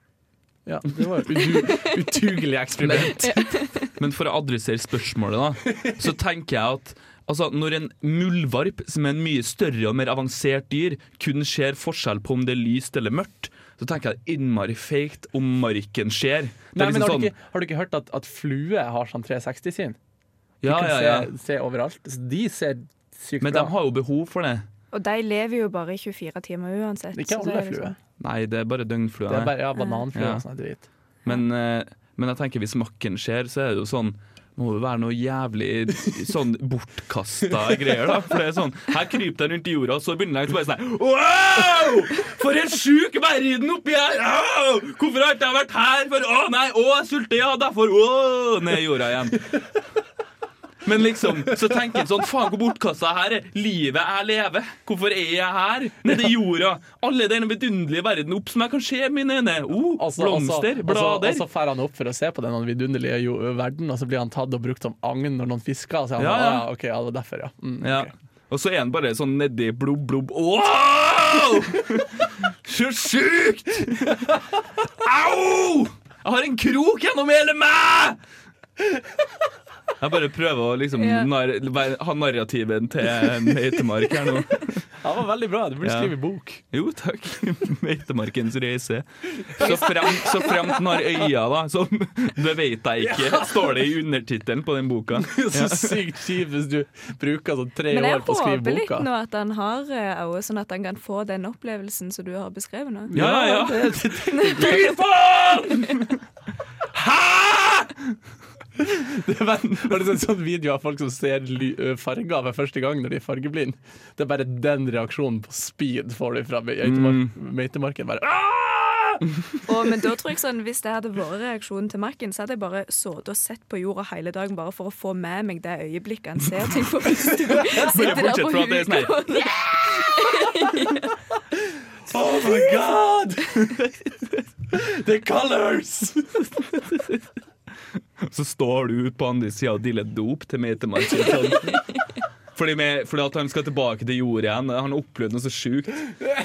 Speaker 1: Ja, det var et udu- utugelig eksperiment.
Speaker 3: Men for å adressere spørsmålet, da, så tenker jeg at altså, når en muldvarp, som er en mye større og mer avansert dyr, kun ser forskjell på om det er lyst eller mørkt, så tenker jeg det er innmari feigt om marken skjer. Det
Speaker 1: Nei, men har,
Speaker 3: er liksom
Speaker 1: du
Speaker 3: sånn
Speaker 1: ikke, har du ikke hørt at, at flue har sånn 360-syn? Du
Speaker 3: sånn, Ja,
Speaker 1: kan
Speaker 3: ja, ja.
Speaker 1: Se, se overalt. Så de ser sykt
Speaker 3: Men
Speaker 1: bra.
Speaker 3: de har jo behov for det.
Speaker 2: Og de lever jo bare i 24 timer uansett.
Speaker 1: Ikke
Speaker 2: så
Speaker 1: alle
Speaker 2: det er
Speaker 1: flue.
Speaker 2: liksom-
Speaker 3: Nei, det er bare døgnflua.
Speaker 1: Det
Speaker 3: det.
Speaker 1: er bare ja, bananflue
Speaker 3: Ja.
Speaker 1: og sånn drit.
Speaker 3: Men, eh, men jeg tenker hvis makken skjer, så er det jo sånn må det være noe jævlig sånn bortkasta greier, da. For det er sånn Her kryper den rundt i jorda, og så begynner den bare sånn Wow! For en sjuk verden oppi her! Au! Hvorfor har ikke jeg vært her før? Å nei, å, jeg sulter, ja, derfor Å, ned i jorda igjen. Men liksom, så tenker en sånn Faen, hvor bortkasta jeg her er. Livet jeg lever. Hvorfor er jeg her? Nede i jorda. Alle den vidunderlige verden opp som jeg kan se med mine øyne. Oh,
Speaker 1: Altså,
Speaker 3: blomster, blader.
Speaker 1: Og så drar altså, han opp for å se på den vidunderlige jo, verden, og så blir han tatt og brukt som agn når noen fisker. Og så er han,
Speaker 3: Ja,
Speaker 1: ja, ja.
Speaker 3: ja.
Speaker 1: ok, ja, det var derfor, ja. Mm,
Speaker 3: Ja.
Speaker 1: ok.
Speaker 3: Og så er han bare sånn nedi blobb, blobb Wow! Så sjukt! Au! Jeg har en krok gjennom hele meg! Jeg bare prøver å liksom
Speaker 2: Ja.
Speaker 3: nar være- ha narrativen til Meitemark her nå.
Speaker 1: Det var veldig bra. Du burde
Speaker 3: Ja.
Speaker 1: skrive bok.
Speaker 3: Jo, takk. Meitemarkens reise. Så fremt, så fremt den har øya, da. Som Det veit jeg ikke, står det i undertittelen på den boka.
Speaker 1: Så sykt kjipt hvis du bruker sånn tre
Speaker 2: Men jeg
Speaker 1: år på å skrive
Speaker 2: håper litt
Speaker 1: boka.
Speaker 2: nå at han har eh, øye, sånn at han kan få den opplevelsen som du har beskrevet nå.
Speaker 3: Ja, ja, ja.
Speaker 1: det-
Speaker 3: Fy faen! Hæ?!
Speaker 1: Det var, var det en sånn video av folk som ser ly, ø, farger for første gang når de er fargeblind? Det er bare den reaksjonen på speed får du fra meitemark-
Speaker 3: Mm.
Speaker 1: meitemarken. Bare, «Ah!»
Speaker 2: Og, men da tror jeg sånn, hvis det hadde vært reaksjonen til Marken, så hadde jeg bare sittet og sett på jorda hele dagen bare for å få med meg det øyeblikket han ser ting på. Hvis du sitter der
Speaker 3: bortsett
Speaker 2: på
Speaker 3: fra at det er sånn her.
Speaker 2: huk og-
Speaker 1: oh my god! The colors!
Speaker 3: Så står du ut på andre sida og dealer dop til Meitemann. sin sånn. Fordi, med, fordi at han skal tilbake til jord igjen. Han har opplevd noe så sjukt.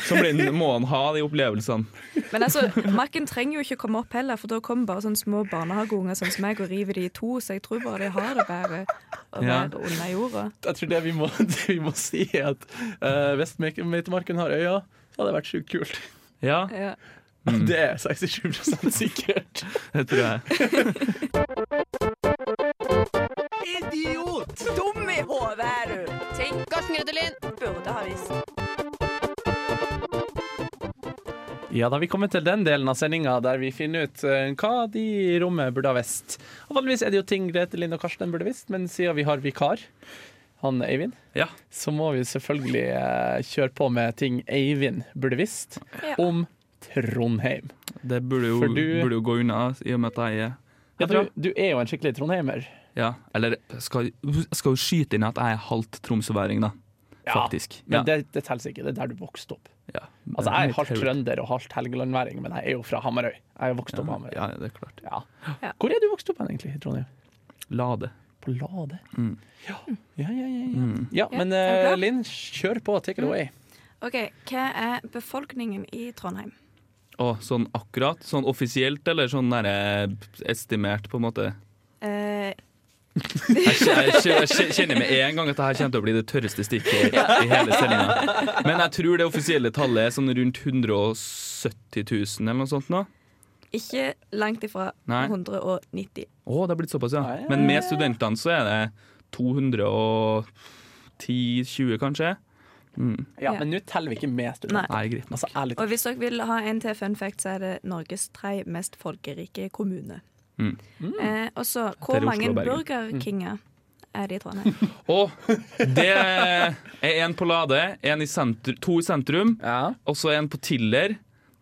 Speaker 3: Så blir, han- må han ha de opplevelsene.
Speaker 2: Men altså, Mac-en trenger jo ikke komme opp heller, for da kommer bare sånne små barnehageunger sånn som meg og river de i to, så jeg tror bare de har det bedre å
Speaker 3: Ja.
Speaker 2: være under jorda.
Speaker 1: Jeg tror det vi må, det vi må si, er at uh, hvis Meite- Meitemarken har øya, så hadde det vært sjukt kult.
Speaker 3: Ja,
Speaker 2: Ja.
Speaker 1: Det er 67 sikkert.
Speaker 3: det tror jeg.
Speaker 6: Idiot!
Speaker 2: Dum i hodet er du! Ting Karsten Grudelin burde ha visst.
Speaker 1: Ja, da har vi kommet til den delen av sendinga der vi finner ut eh, hva de i rommet burde ha visst. Og vanligvis er det jo ting Grete Lind og Karsten burde visst, men siden vi har vikar, han Eivind,
Speaker 3: Ja.
Speaker 1: så må vi selvfølgelig eh, kjøre på med ting Eivind burde visst
Speaker 2: Ja.
Speaker 1: om Trondheim.
Speaker 3: Det burde jo,
Speaker 1: For du-
Speaker 3: burde jo gå unna, i og med at jeg er
Speaker 1: Ja,
Speaker 3: Jeg
Speaker 1: du,
Speaker 3: tror-
Speaker 1: du er jo en skikkelig trondheimer.
Speaker 3: Ja, eller jeg skal, jeg skal jo skyte inn at jeg er halvt tromsøværing, da. Faktisk.
Speaker 1: Men
Speaker 3: Ja.
Speaker 1: det, det teller ikke. Det er der du vokste opp.
Speaker 3: Ja.
Speaker 1: Altså, jeg er halvt trønder og halvt helgelandværing, men jeg er jo fra Hamarøy. Jeg er vokst opp på Hamarøy.
Speaker 3: Ja, det er klart.
Speaker 1: Ja.
Speaker 2: Ja.
Speaker 1: Hvor er du vokst opp hen, egentlig, i Trondheim?
Speaker 3: Lade.
Speaker 1: På Lade?
Speaker 3: Mm.
Speaker 1: Ja. ja, ja, ja. ja. ja
Speaker 2: Ja,
Speaker 1: men
Speaker 2: er du
Speaker 1: eh,
Speaker 2: klar? Mm.
Speaker 1: Linn, kjør på. Take it away.
Speaker 2: OK, hva er befolkningen i Trondheim?
Speaker 3: Å, sånn akkurat? Sånn offisielt, eller sånn der, eh, estimert, på en måte?
Speaker 2: Eh,
Speaker 3: Jeg, kj- jeg, kj- jeg kjenner med en gang at dette kommer til å bli det tørreste stikket i hele sendinga. Men jeg tror det offisielle tallet er sånn rundt 170 000 eller noe sånt. nå.
Speaker 2: ikke langt ifra
Speaker 3: Nei.
Speaker 2: 190.
Speaker 3: Å, det har blitt såpass, ja.
Speaker 1: Ja, ja,
Speaker 3: Men med studentene så er det 210-20, kanskje?
Speaker 1: Ja,
Speaker 2: Ja.
Speaker 1: Men nå teller vi ikke med
Speaker 2: Nei.
Speaker 1: studenter.
Speaker 3: Nei, greit nok.
Speaker 1: Altså, ærlig
Speaker 2: Og hvis dere vil ha en til fun fact, så er det Norges tre mest folkerike kommune.
Speaker 3: Mm.
Speaker 2: Eh, og så,
Speaker 3: Etter
Speaker 2: hvor
Speaker 3: Oslo
Speaker 2: mange
Speaker 3: og Bergen. Mm.
Speaker 2: burgerkinger er det i Trondheim?
Speaker 3: Og det er én på Lade, en i sentru- to i sentrum,
Speaker 1: Ja.
Speaker 3: og så en på Tiller.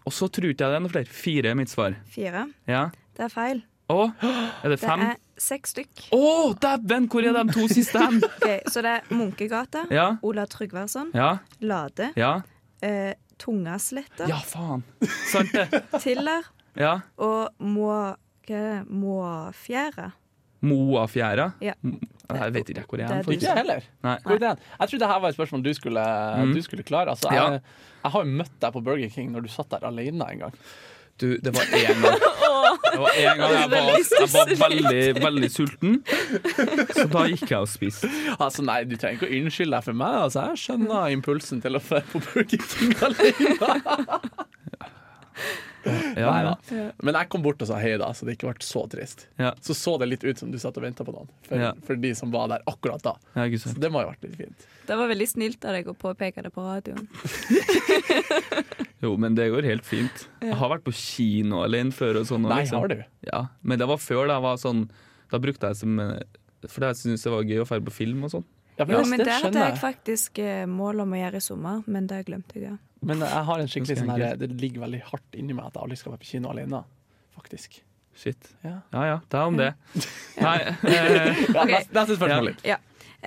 Speaker 3: Og så tror ikke jeg det er noen flere. Fire er mitt svar.
Speaker 2: Fire.
Speaker 3: Ja.
Speaker 2: Det er feil.
Speaker 3: Og er det
Speaker 2: Det
Speaker 3: fem?
Speaker 2: er seks stykk.
Speaker 3: Å, dæven! Hvor er de to siste hen?
Speaker 2: Ok, så det er Munkegata,
Speaker 3: Ja.
Speaker 2: Ola Tryggvason,
Speaker 3: Ja,
Speaker 2: Lade,
Speaker 3: ja.
Speaker 2: eh, Tungasletta,
Speaker 3: Ja, faen! Sant det.
Speaker 2: Tiller
Speaker 3: Ja.
Speaker 2: og Må... Hva er det? Måfjæra.
Speaker 3: Moafjæra.
Speaker 2: Ja.
Speaker 3: Jeg vet ikke hvor jeg
Speaker 2: Det
Speaker 3: er.
Speaker 2: er
Speaker 1: Ikke
Speaker 3: faktisk.
Speaker 1: jeg heller.
Speaker 3: Nei.
Speaker 1: God idé. Jeg trodde dette var et spørsmål du skulle, du skulle klare. Altså,
Speaker 3: Mm. Ja.
Speaker 1: jeg, jeg har jo møtt deg på Burger King når du satt der alene en gang.
Speaker 3: Du, det var én gang. Det var en gang jeg var, jeg var veldig, veldig sulten, så da gikk jeg og spiste.
Speaker 1: Altså, nei, Du trenger ikke å unnskylde deg for meg. Altså, jeg skjønner impulsen til å dra på Burger King alene.
Speaker 3: Ja,
Speaker 1: Nei da.
Speaker 3: ja.
Speaker 1: Men jeg kom bort og sa hei, da, så det ikke ble så trist.
Speaker 3: Ja.
Speaker 1: Så så det litt ut som du satt og venta på noen, for,
Speaker 3: Ja.
Speaker 1: for de som var der akkurat da.
Speaker 3: Ja, ikke
Speaker 1: Så
Speaker 3: sant.
Speaker 1: det må jo ha vært litt fint.
Speaker 2: Det var veldig snilt av deg å påpeke det på radioen.
Speaker 3: Jo, men det går helt fint. Jeg har vært på kino alene før. og sånn. og
Speaker 1: Nei,
Speaker 3: liksom-
Speaker 1: har du?
Speaker 3: Ja, Men det var før da jeg var sånn Da brukte jeg som eh, For da syntes jeg det var gøy å dra på film og sånn.
Speaker 1: Ja,
Speaker 2: Jo, men
Speaker 1: det
Speaker 2: det hadde
Speaker 1: skjønner
Speaker 2: jeg
Speaker 1: jeg.
Speaker 2: faktisk eh, mål om å gjøre i sommer, men det glemte jeg. ja.
Speaker 1: Men jeg har en skikkelig
Speaker 3: Ganske
Speaker 1: sånn her Det ligger veldig hardt inni meg at jeg aldri skal være på kino alene, faktisk.
Speaker 3: Shit.
Speaker 1: Ja.
Speaker 3: Ja ja, det er om det. Nei, eh,
Speaker 1: Ja,
Speaker 2: Ok.
Speaker 1: neste- Neste spørsmål.
Speaker 3: Ja.
Speaker 2: Ja.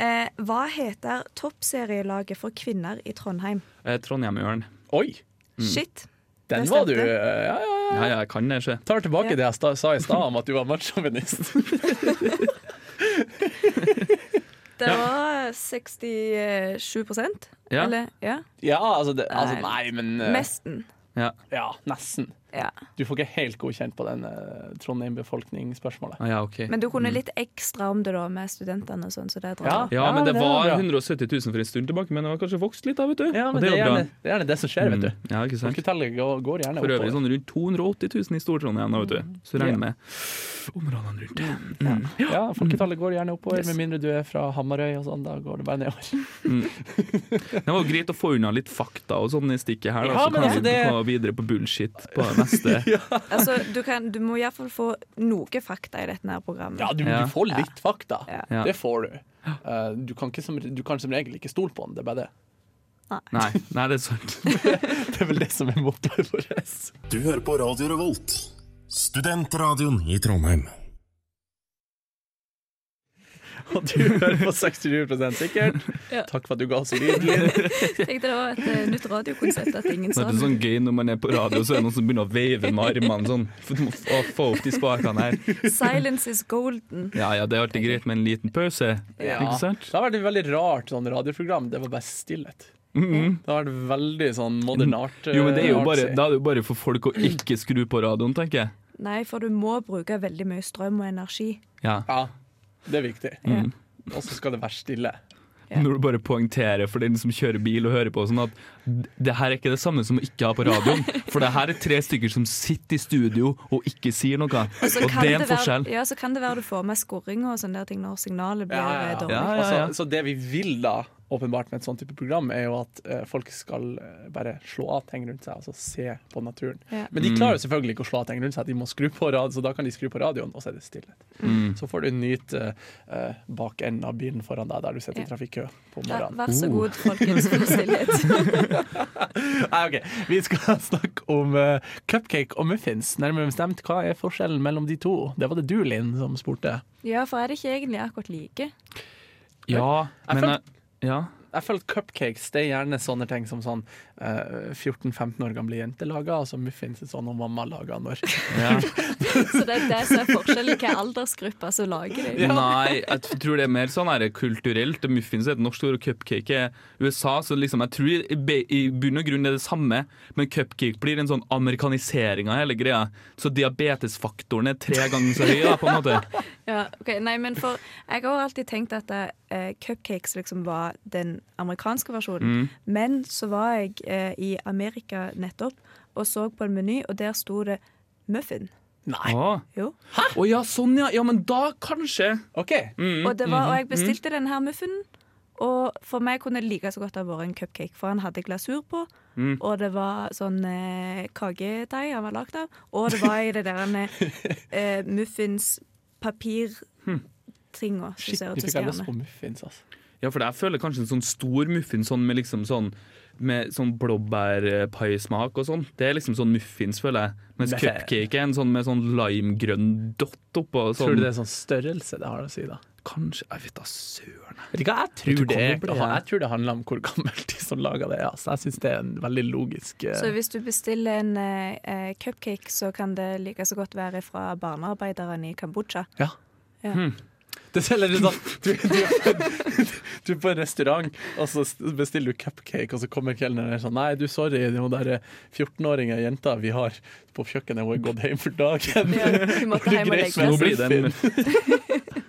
Speaker 2: Eh, hva heter toppserielaget for kvinner i Trondheim?
Speaker 3: eh, Trondheimørn.
Speaker 1: Oi!
Speaker 2: Shit.
Speaker 1: Den
Speaker 2: Det
Speaker 1: var du
Speaker 2: stemte.
Speaker 1: Ja, ja, ja.
Speaker 3: Ja ja, jeg kan det, sjø.
Speaker 1: Tar tilbake
Speaker 2: Ja.
Speaker 1: det jeg sta, sa i stad om at du var mannssjåvinist.
Speaker 2: Det var 67
Speaker 3: Ja.
Speaker 2: Eller ja.
Speaker 1: Ja, altså, det, altså
Speaker 2: Nei.
Speaker 1: Nei, men eh,
Speaker 2: Nesten.
Speaker 3: Ja.
Speaker 1: Ja, nesten.
Speaker 2: Ja.
Speaker 1: Du får ikke helt godkjent på den eh, Trondheim-befolkningsspørsmålet.
Speaker 3: Ah, ja, ok.
Speaker 2: Men du kunne litt ekstra om det da med studentene og sånn, så det drar.
Speaker 3: Ja, men
Speaker 1: Ja,
Speaker 3: det
Speaker 1: det var
Speaker 3: var
Speaker 1: bra.
Speaker 3: 170 000 for en stund tilbake, men det var kanskje vokst litt da, vet du.
Speaker 1: Ja,
Speaker 3: Og
Speaker 1: men det er,
Speaker 3: jo bra.
Speaker 1: gjerne, det er gjerne det som skjer, vet du.
Speaker 3: Mm, Ja, ikke sant.
Speaker 1: Folketallet går, går gjerne
Speaker 3: For øvrig
Speaker 1: oppover.
Speaker 3: sånn rundt 280 000 i Stor-Trondheim, da, vet
Speaker 1: Mm.
Speaker 3: du. Så regner med områdene rundt.
Speaker 1: Ja,
Speaker 3: Mm.
Speaker 1: folketallet går gjerne oppover, med mindre du er fra Hamarøy og sånn. Da går det bare nedover.
Speaker 3: Det var jo greit å få unna litt fakta og sånn i stikket her, da,
Speaker 1: Ja,
Speaker 3: så
Speaker 1: men
Speaker 3: kan
Speaker 1: altså,
Speaker 3: vi
Speaker 1: det-
Speaker 3: gå videre på bullshit på det neste.
Speaker 2: Altså, du, kan, du må iallfall få noe fakta i dette her programmet.
Speaker 1: Ja, du,
Speaker 3: Ja.
Speaker 1: du får litt fakta.
Speaker 2: Ja.
Speaker 1: Det får du. Eh, du, kan ikke som, du kan som regel ikke stole på den, det er bare det.
Speaker 3: Nei, nei, det er sant.
Speaker 1: Det er vel det som er mottoet vårt.
Speaker 7: Du hører på Radio Revolt, studentradioen i Trondheim.
Speaker 1: Og du hører på 67 sikkert. Takk for at du ga oss lyden din.
Speaker 2: Tenkte det var et eh, nytt radiokonsept at ingen
Speaker 3: Det
Speaker 2: sa
Speaker 3: er
Speaker 2: det.
Speaker 3: sånn gøy når man er på radio, så er det noen som begynner å veive med armene sånn. For du må f- å, få opp de spakene her.
Speaker 2: Silence is golden.
Speaker 3: Ja ja, det er alltid greit med en liten pause. Ikke sant?
Speaker 1: Det har vært et veldig rart sånn radioprogram. Det var bare stillhet. Det har vært veldig sånn modern art.
Speaker 3: Mm-hmm. Mm. Jo, men det er jo
Speaker 1: eh,
Speaker 3: bare,
Speaker 1: artsy.
Speaker 3: Da er det jo bare for folk å ikke skru på radioen, tenker jeg.
Speaker 2: Nei, for du må bruke veldig mye strøm og energi.
Speaker 3: Ja.
Speaker 1: Ja, det er viktig.
Speaker 2: Ja.
Speaker 1: Og så skal det være stille.
Speaker 2: Ja.
Speaker 3: Når du bare poengterer for den som kjører bil og hører på, sånn at det her er ikke det samme som å ikke ha på radioen. For det her er tre stykker som sitter i studio og ikke sier noe.
Speaker 2: Og så
Speaker 3: Og
Speaker 2: kan
Speaker 3: det er en
Speaker 2: være-
Speaker 3: forskjell.
Speaker 2: Ja, så kan det være du får med skurring og sånne der ting når signalet blir eh, dårlig.
Speaker 3: Ja, ja,
Speaker 1: Og så-
Speaker 3: ja.
Speaker 1: Så det vi vil da, åpenbart med et sånt type program, er jo at eh, folk skal eh, bare slå av ting rundt seg, altså se på naturen.
Speaker 2: Ja.
Speaker 1: Men de
Speaker 3: Mm.
Speaker 1: klarer jo selvfølgelig ikke å slå av ting rundt seg, de må skru på radio, så da kan de skru på radioen, og så er det stillhet.
Speaker 3: Mm.
Speaker 1: Så får du nyte eh, bak enden av bilen foran deg, der du sitter i
Speaker 2: Ja.
Speaker 1: trafikkø på
Speaker 2: Vær,
Speaker 1: morgenen.
Speaker 2: vær så god,
Speaker 3: Uh.
Speaker 2: folkens, for stillhet.
Speaker 1: Nei, ok. Vi skal snakke om eh, cupcake og muffins. Nærmere bestemt, hva er forskjellen mellom de to? Det var det du, Linn, som spurte.
Speaker 2: Ja, for er det ikke egentlig akkurat like?
Speaker 3: Ja,
Speaker 1: Jeg
Speaker 3: men jeg- ja.
Speaker 1: Jeg føler cupcakes det er gjerne sånne ting som sånn eh, 14-15 år gamle jenter lager, og så muffins er sånn og mamma lager når
Speaker 3: ja.
Speaker 2: Så det er det som er forskjellen i hvilken aldersgruppe som lager det.
Speaker 3: Nei, jeg t- tror det er mer sånn her kulturelt. Muffins er et norsk ord, og cupcake er USA. Så liksom, jeg tror i be- i bunn og grunn er det samme, men cupcake blir en sånn amerikanisering av hele greia. Så diabetesfaktoren er tre ganger så høy, da, på en måte.
Speaker 2: Ja, ok, nei, men for Jeg har alltid tenkt at eh, cupcakes liksom var den amerikanske
Speaker 3: Mm.
Speaker 2: versjonen. Men så var jeg eh, i Amerika nettopp og så på en meny, og der sto det muffin.
Speaker 1: Nei.
Speaker 3: Å
Speaker 2: Jo.
Speaker 3: Å ja, sånn ja. Ja, men da kanskje.
Speaker 1: OK. Mm,
Speaker 2: Og, det var, og
Speaker 1: mhm,
Speaker 2: jeg bestilte denne her muffinen. Og for meg kunne det like så godt ha vært en cupcake, for han hadde glasur på.
Speaker 1: Mm.
Speaker 2: Og det var sånn eh, kakedeig han var lagd av. Og det var i det der eh, muffinspapirtringa som
Speaker 1: Shit,
Speaker 2: ser
Speaker 1: nå
Speaker 2: ut som
Speaker 1: fikk jeg lyst
Speaker 2: stjerne.
Speaker 1: på muffins, altså.
Speaker 3: Ja, for jeg føler kanskje en sånn stor muffins sånn med liksom sånn med sånn blåbærpaismak og sånn. Det er liksom sånn muffins, føler jeg. Mens
Speaker 1: Det-
Speaker 3: cupcake er en sånn med sånn limegrønn dott oppå. og Sånn.
Speaker 1: Tror du det er sånn størrelse det har å si, da?
Speaker 3: Kanskje Jeg vet da søren. jeg.
Speaker 1: Vet du hva, jeg tror,
Speaker 3: Jeg tror
Speaker 1: det, er-
Speaker 3: kobler, ja.
Speaker 1: jeg tror det handler om hvor gammelt de som lager det er. Altså, jeg syns det er en veldig logisk eh,
Speaker 2: Så hvis du bestiller en eh, eh, cupcake, så kan det like så godt være fra barnearbeideren i Kambodsja.
Speaker 1: Ja.
Speaker 2: Ja.
Speaker 1: Hmm. Det selger du sånn du, du, du er på en restaurant, og så bestiller du cupcake, og så kommer kelneren og er sånn Nei, du, sorry, det er hun derre 14-åringa jenta vi har på kjøkkenet, hun er gått hjem for dagen.
Speaker 2: Du måtte
Speaker 1: Det er
Speaker 2: hjem
Speaker 1: greit, men
Speaker 3: Nå
Speaker 2: og legge
Speaker 1: nå
Speaker 2: deg.
Speaker 3: blir det en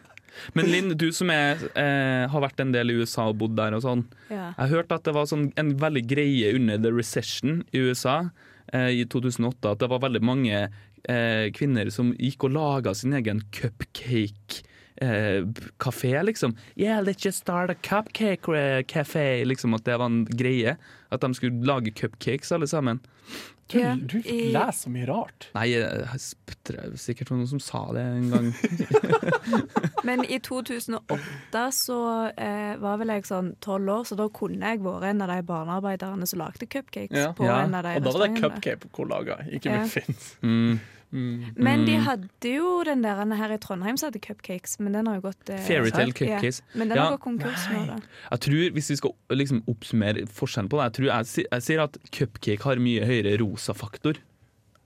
Speaker 3: Men Linn, du som er, eh, har vært en del i USA og bodd der og sånn.
Speaker 2: Ja.
Speaker 3: Jeg hørte at det var sånn en veldig greie under the recession i USA eh, i 2008. At det var veldig mange eh, kvinner som gikk og laga sin egen cupcake. eh, Kafé, liksom. Yeah, let's just start a cupcake eh, cafe. Liksom At det var en greie. At de skulle lage cupcakes, alle sammen.
Speaker 1: Du,
Speaker 2: Ja,
Speaker 1: du
Speaker 2: i-
Speaker 1: leser så mye rart.
Speaker 3: Nei, jeg, jeg, det er sikkert noen som sa det en gang.
Speaker 2: Men i 2008 så eh, var vel jeg sånn tolv år, så da kunne jeg vært en av de barnearbeiderne som lagde cupcakes.
Speaker 1: Ja.
Speaker 2: på
Speaker 3: Ja.
Speaker 2: en av de
Speaker 1: Og da var det
Speaker 2: restaurantene.
Speaker 1: cupcake hun laga, ikke
Speaker 2: Ja.
Speaker 1: muffins.
Speaker 3: Mm.
Speaker 2: Men
Speaker 1: Mm.
Speaker 2: de hadde jo den der den her i Trondheim som hadde cupcakes, men den har jo gått eh,
Speaker 3: Fairytale
Speaker 2: svart. Ja.
Speaker 3: cupcakes.
Speaker 2: Men den
Speaker 3: Ja.
Speaker 2: har gått konkurs nå, da.
Speaker 3: Jeg tror, Hvis vi skal liksom oppsummere forskjellen på det Jeg tror jeg, si- jeg sier at cupcake har mye høyere rosa faktor.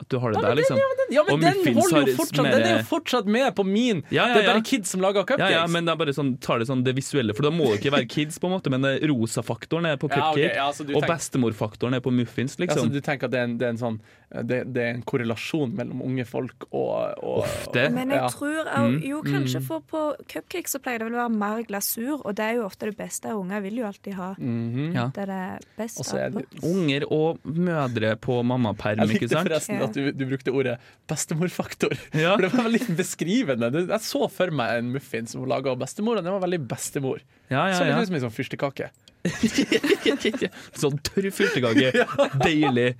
Speaker 3: At du har det der, liksom.
Speaker 1: Ja, men den
Speaker 3: Og muffins har
Speaker 1: holder jo
Speaker 3: litt
Speaker 1: fortsatt
Speaker 3: mer-
Speaker 1: Den er jo fortsatt med på min!
Speaker 3: Ja, ja,
Speaker 1: Det er
Speaker 3: ja.
Speaker 1: bare kids som lager
Speaker 3: Ja,
Speaker 1: cupcakes.
Speaker 3: ja, men det er bare sånn, tar det sånn det visuelle, for da må det ikke være kids, på en måte, men det- rosa-faktoren er på
Speaker 1: Ja, ok,
Speaker 3: cupcake,
Speaker 1: ja, så du
Speaker 3: og
Speaker 1: tenker-
Speaker 3: bestemor-faktoren er på muffins,
Speaker 1: Altså,
Speaker 3: liksom.
Speaker 1: du tenker at det er en, det er en, sånn, det, det er en korrelasjon mellom unge folk og, og
Speaker 3: det,
Speaker 2: Men jeg
Speaker 1: Ja.
Speaker 2: tror
Speaker 1: Mm.
Speaker 2: au- Jo, kanskje for på cupcakes så pleier det vel å være mer glasur, og det er jo ofte det beste. Unger vil jo alltid ha
Speaker 3: Ja.
Speaker 2: det det er best
Speaker 1: Mhm. Og så er
Speaker 2: av.
Speaker 1: det
Speaker 3: Unger og mødre på mammaperm,
Speaker 1: Jeg
Speaker 3: ikke
Speaker 1: likte
Speaker 3: sant?
Speaker 1: forresten
Speaker 2: Ja.
Speaker 1: at du, du brukte ordet bestemorfaktor.
Speaker 3: Ja.
Speaker 1: For det var veldig beskrivende. Det- Jeg så for meg en muffins som hun laga av bestemor, og den var veldig bestemor.
Speaker 3: Ja, ja,
Speaker 1: Som
Speaker 3: ja.
Speaker 1: litt ut som en sånn fyrstekake.
Speaker 3: Sånn tørr fyltekake. Deilig.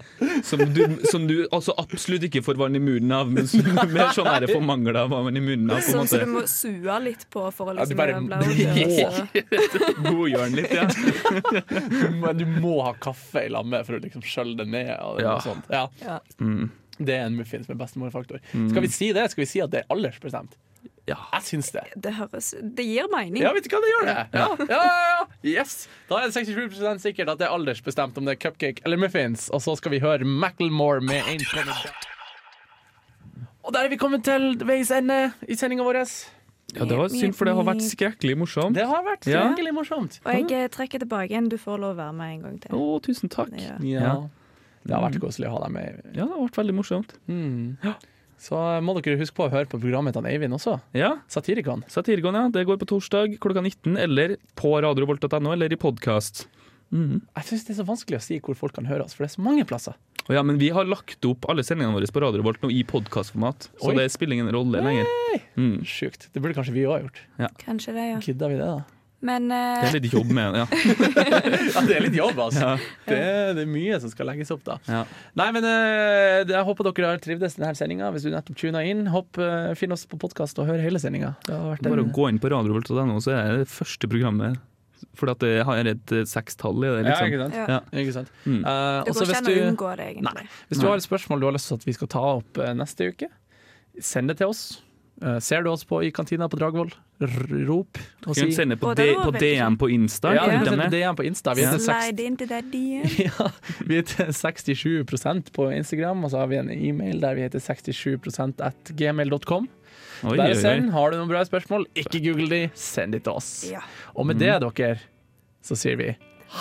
Speaker 3: Som du, som du altså absolutt ikke får vann i munnen av, men som mer sånn er det for mangel av vann i munnen av, på en
Speaker 2: Sånn som
Speaker 3: måte.
Speaker 2: du må sue litt på for å
Speaker 1: Ja, du
Speaker 2: liksom
Speaker 1: bare
Speaker 2: bla,
Speaker 1: må.
Speaker 2: bla, bla, så-
Speaker 3: Godgjør den litt, ja.
Speaker 1: Men du må ha kaffe i lammet for å liksom skjølle det ned. Og det,
Speaker 3: Ja. Mm.
Speaker 1: sånt. Ja.
Speaker 2: Ja.
Speaker 1: det er en muffins med bestemorfaktor. Skal vi si det? Skal vi si at det er aldersbestemt?
Speaker 3: Ja.
Speaker 1: Jeg syns det.
Speaker 2: Det, høres, det gir mening.
Speaker 1: Ja, vet du hva, det gjør det! Ja, ja, ja, ja. Yes. Da er det 67 sikkert at det er aldersbestemt om det er cupcake eller muffins. Og så skal vi høre Macclemore med en Og der er vi kommet til veis ende i sendinga vår.
Speaker 3: ja, det var synd, for det har vært skrekkelig morsomt.
Speaker 1: Det har vært
Speaker 3: Ja.
Speaker 1: skikkelig morsomt.
Speaker 2: Og jeg eh, trekker tilbake igjen. Du får lov å være med en gang
Speaker 3: Å,
Speaker 2: til.
Speaker 3: tusen takk.
Speaker 2: Ja.
Speaker 1: Ja. Det har vært koselig å ha deg med.
Speaker 3: Ja, det har vært veldig morsomt.
Speaker 1: Så må dere huske på å høre på programmet til Eivind også.
Speaker 3: Ja.
Speaker 1: Satirikon.
Speaker 3: Satirikon, ja. Det går på torsdag klokka 19, eller på radiovolt.no, eller i podkast.
Speaker 1: Jeg syns det er så vanskelig å si hvor folk kan høre oss, for det er så mange plasser.
Speaker 3: Og ja, men vi har lagt opp alle sendingene våre på radiovolt nå i podkastformat, så
Speaker 1: Oi.
Speaker 3: det spiller ingen rolle lenger. Mm.
Speaker 1: Sjukt. Det burde kanskje vi òg ha gjort.
Speaker 2: Kanskje det, ja.
Speaker 1: Gidder vi det, da?
Speaker 2: Men eh,
Speaker 3: Det er litt jobb med ja.
Speaker 1: Ja, det er litt jobb, altså. Det, er- det er mye som skal legges opp, da.
Speaker 3: Ja.
Speaker 1: Nei, men eh, jeg håper dere har trivdes i denne sendinga. Hvis du nettopp tuna inn, hopp, eh, finn oss på podkast og hør hele sendinga. Det har vært
Speaker 3: Bare
Speaker 2: Mm.
Speaker 1: en
Speaker 3: å gå inn på radiovolt.no, så er det det første programmet. Fordi at det har et eh, sekstall i det.
Speaker 1: Ja, ikke
Speaker 3: Liksom.
Speaker 1: sant?
Speaker 2: ja.
Speaker 3: Ja.
Speaker 1: Ikke sant?
Speaker 3: Mm.
Speaker 1: Eh,
Speaker 2: det
Speaker 1: også
Speaker 2: går ikke
Speaker 1: hvis
Speaker 2: an å
Speaker 1: du,
Speaker 2: unngå det, egentlig.
Speaker 1: hvis du har et spørsmål du har lyst til at vi skal ta opp eh, neste uke, send det til oss. Eh, ser du oss på i kantina på Dragvoll, r- rop og
Speaker 3: Kan
Speaker 1: si
Speaker 3: du sende på,
Speaker 2: Å, det
Speaker 3: D-
Speaker 2: var
Speaker 3: på
Speaker 2: veldig
Speaker 3: DM på Insta.
Speaker 1: Ja,
Speaker 3: kan
Speaker 1: vi
Speaker 3: du
Speaker 1: sender
Speaker 3: sende det?
Speaker 1: DM på Insta. Vi er til seks-
Speaker 2: Slide into that DM.
Speaker 1: Ja, vi er til 67 på Instagram, og så har vi en e-mail der vi heter 67 at gmail.com.
Speaker 3: Oi,
Speaker 1: Bare
Speaker 3: oi, oi.
Speaker 1: send. Har du noen bra spørsmål, ikke google de, send de til oss.
Speaker 2: Ja.
Speaker 3: Mm.
Speaker 1: Og med det, dere, så sier vi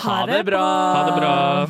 Speaker 2: Ha det
Speaker 1: bra!
Speaker 3: Ha det bra.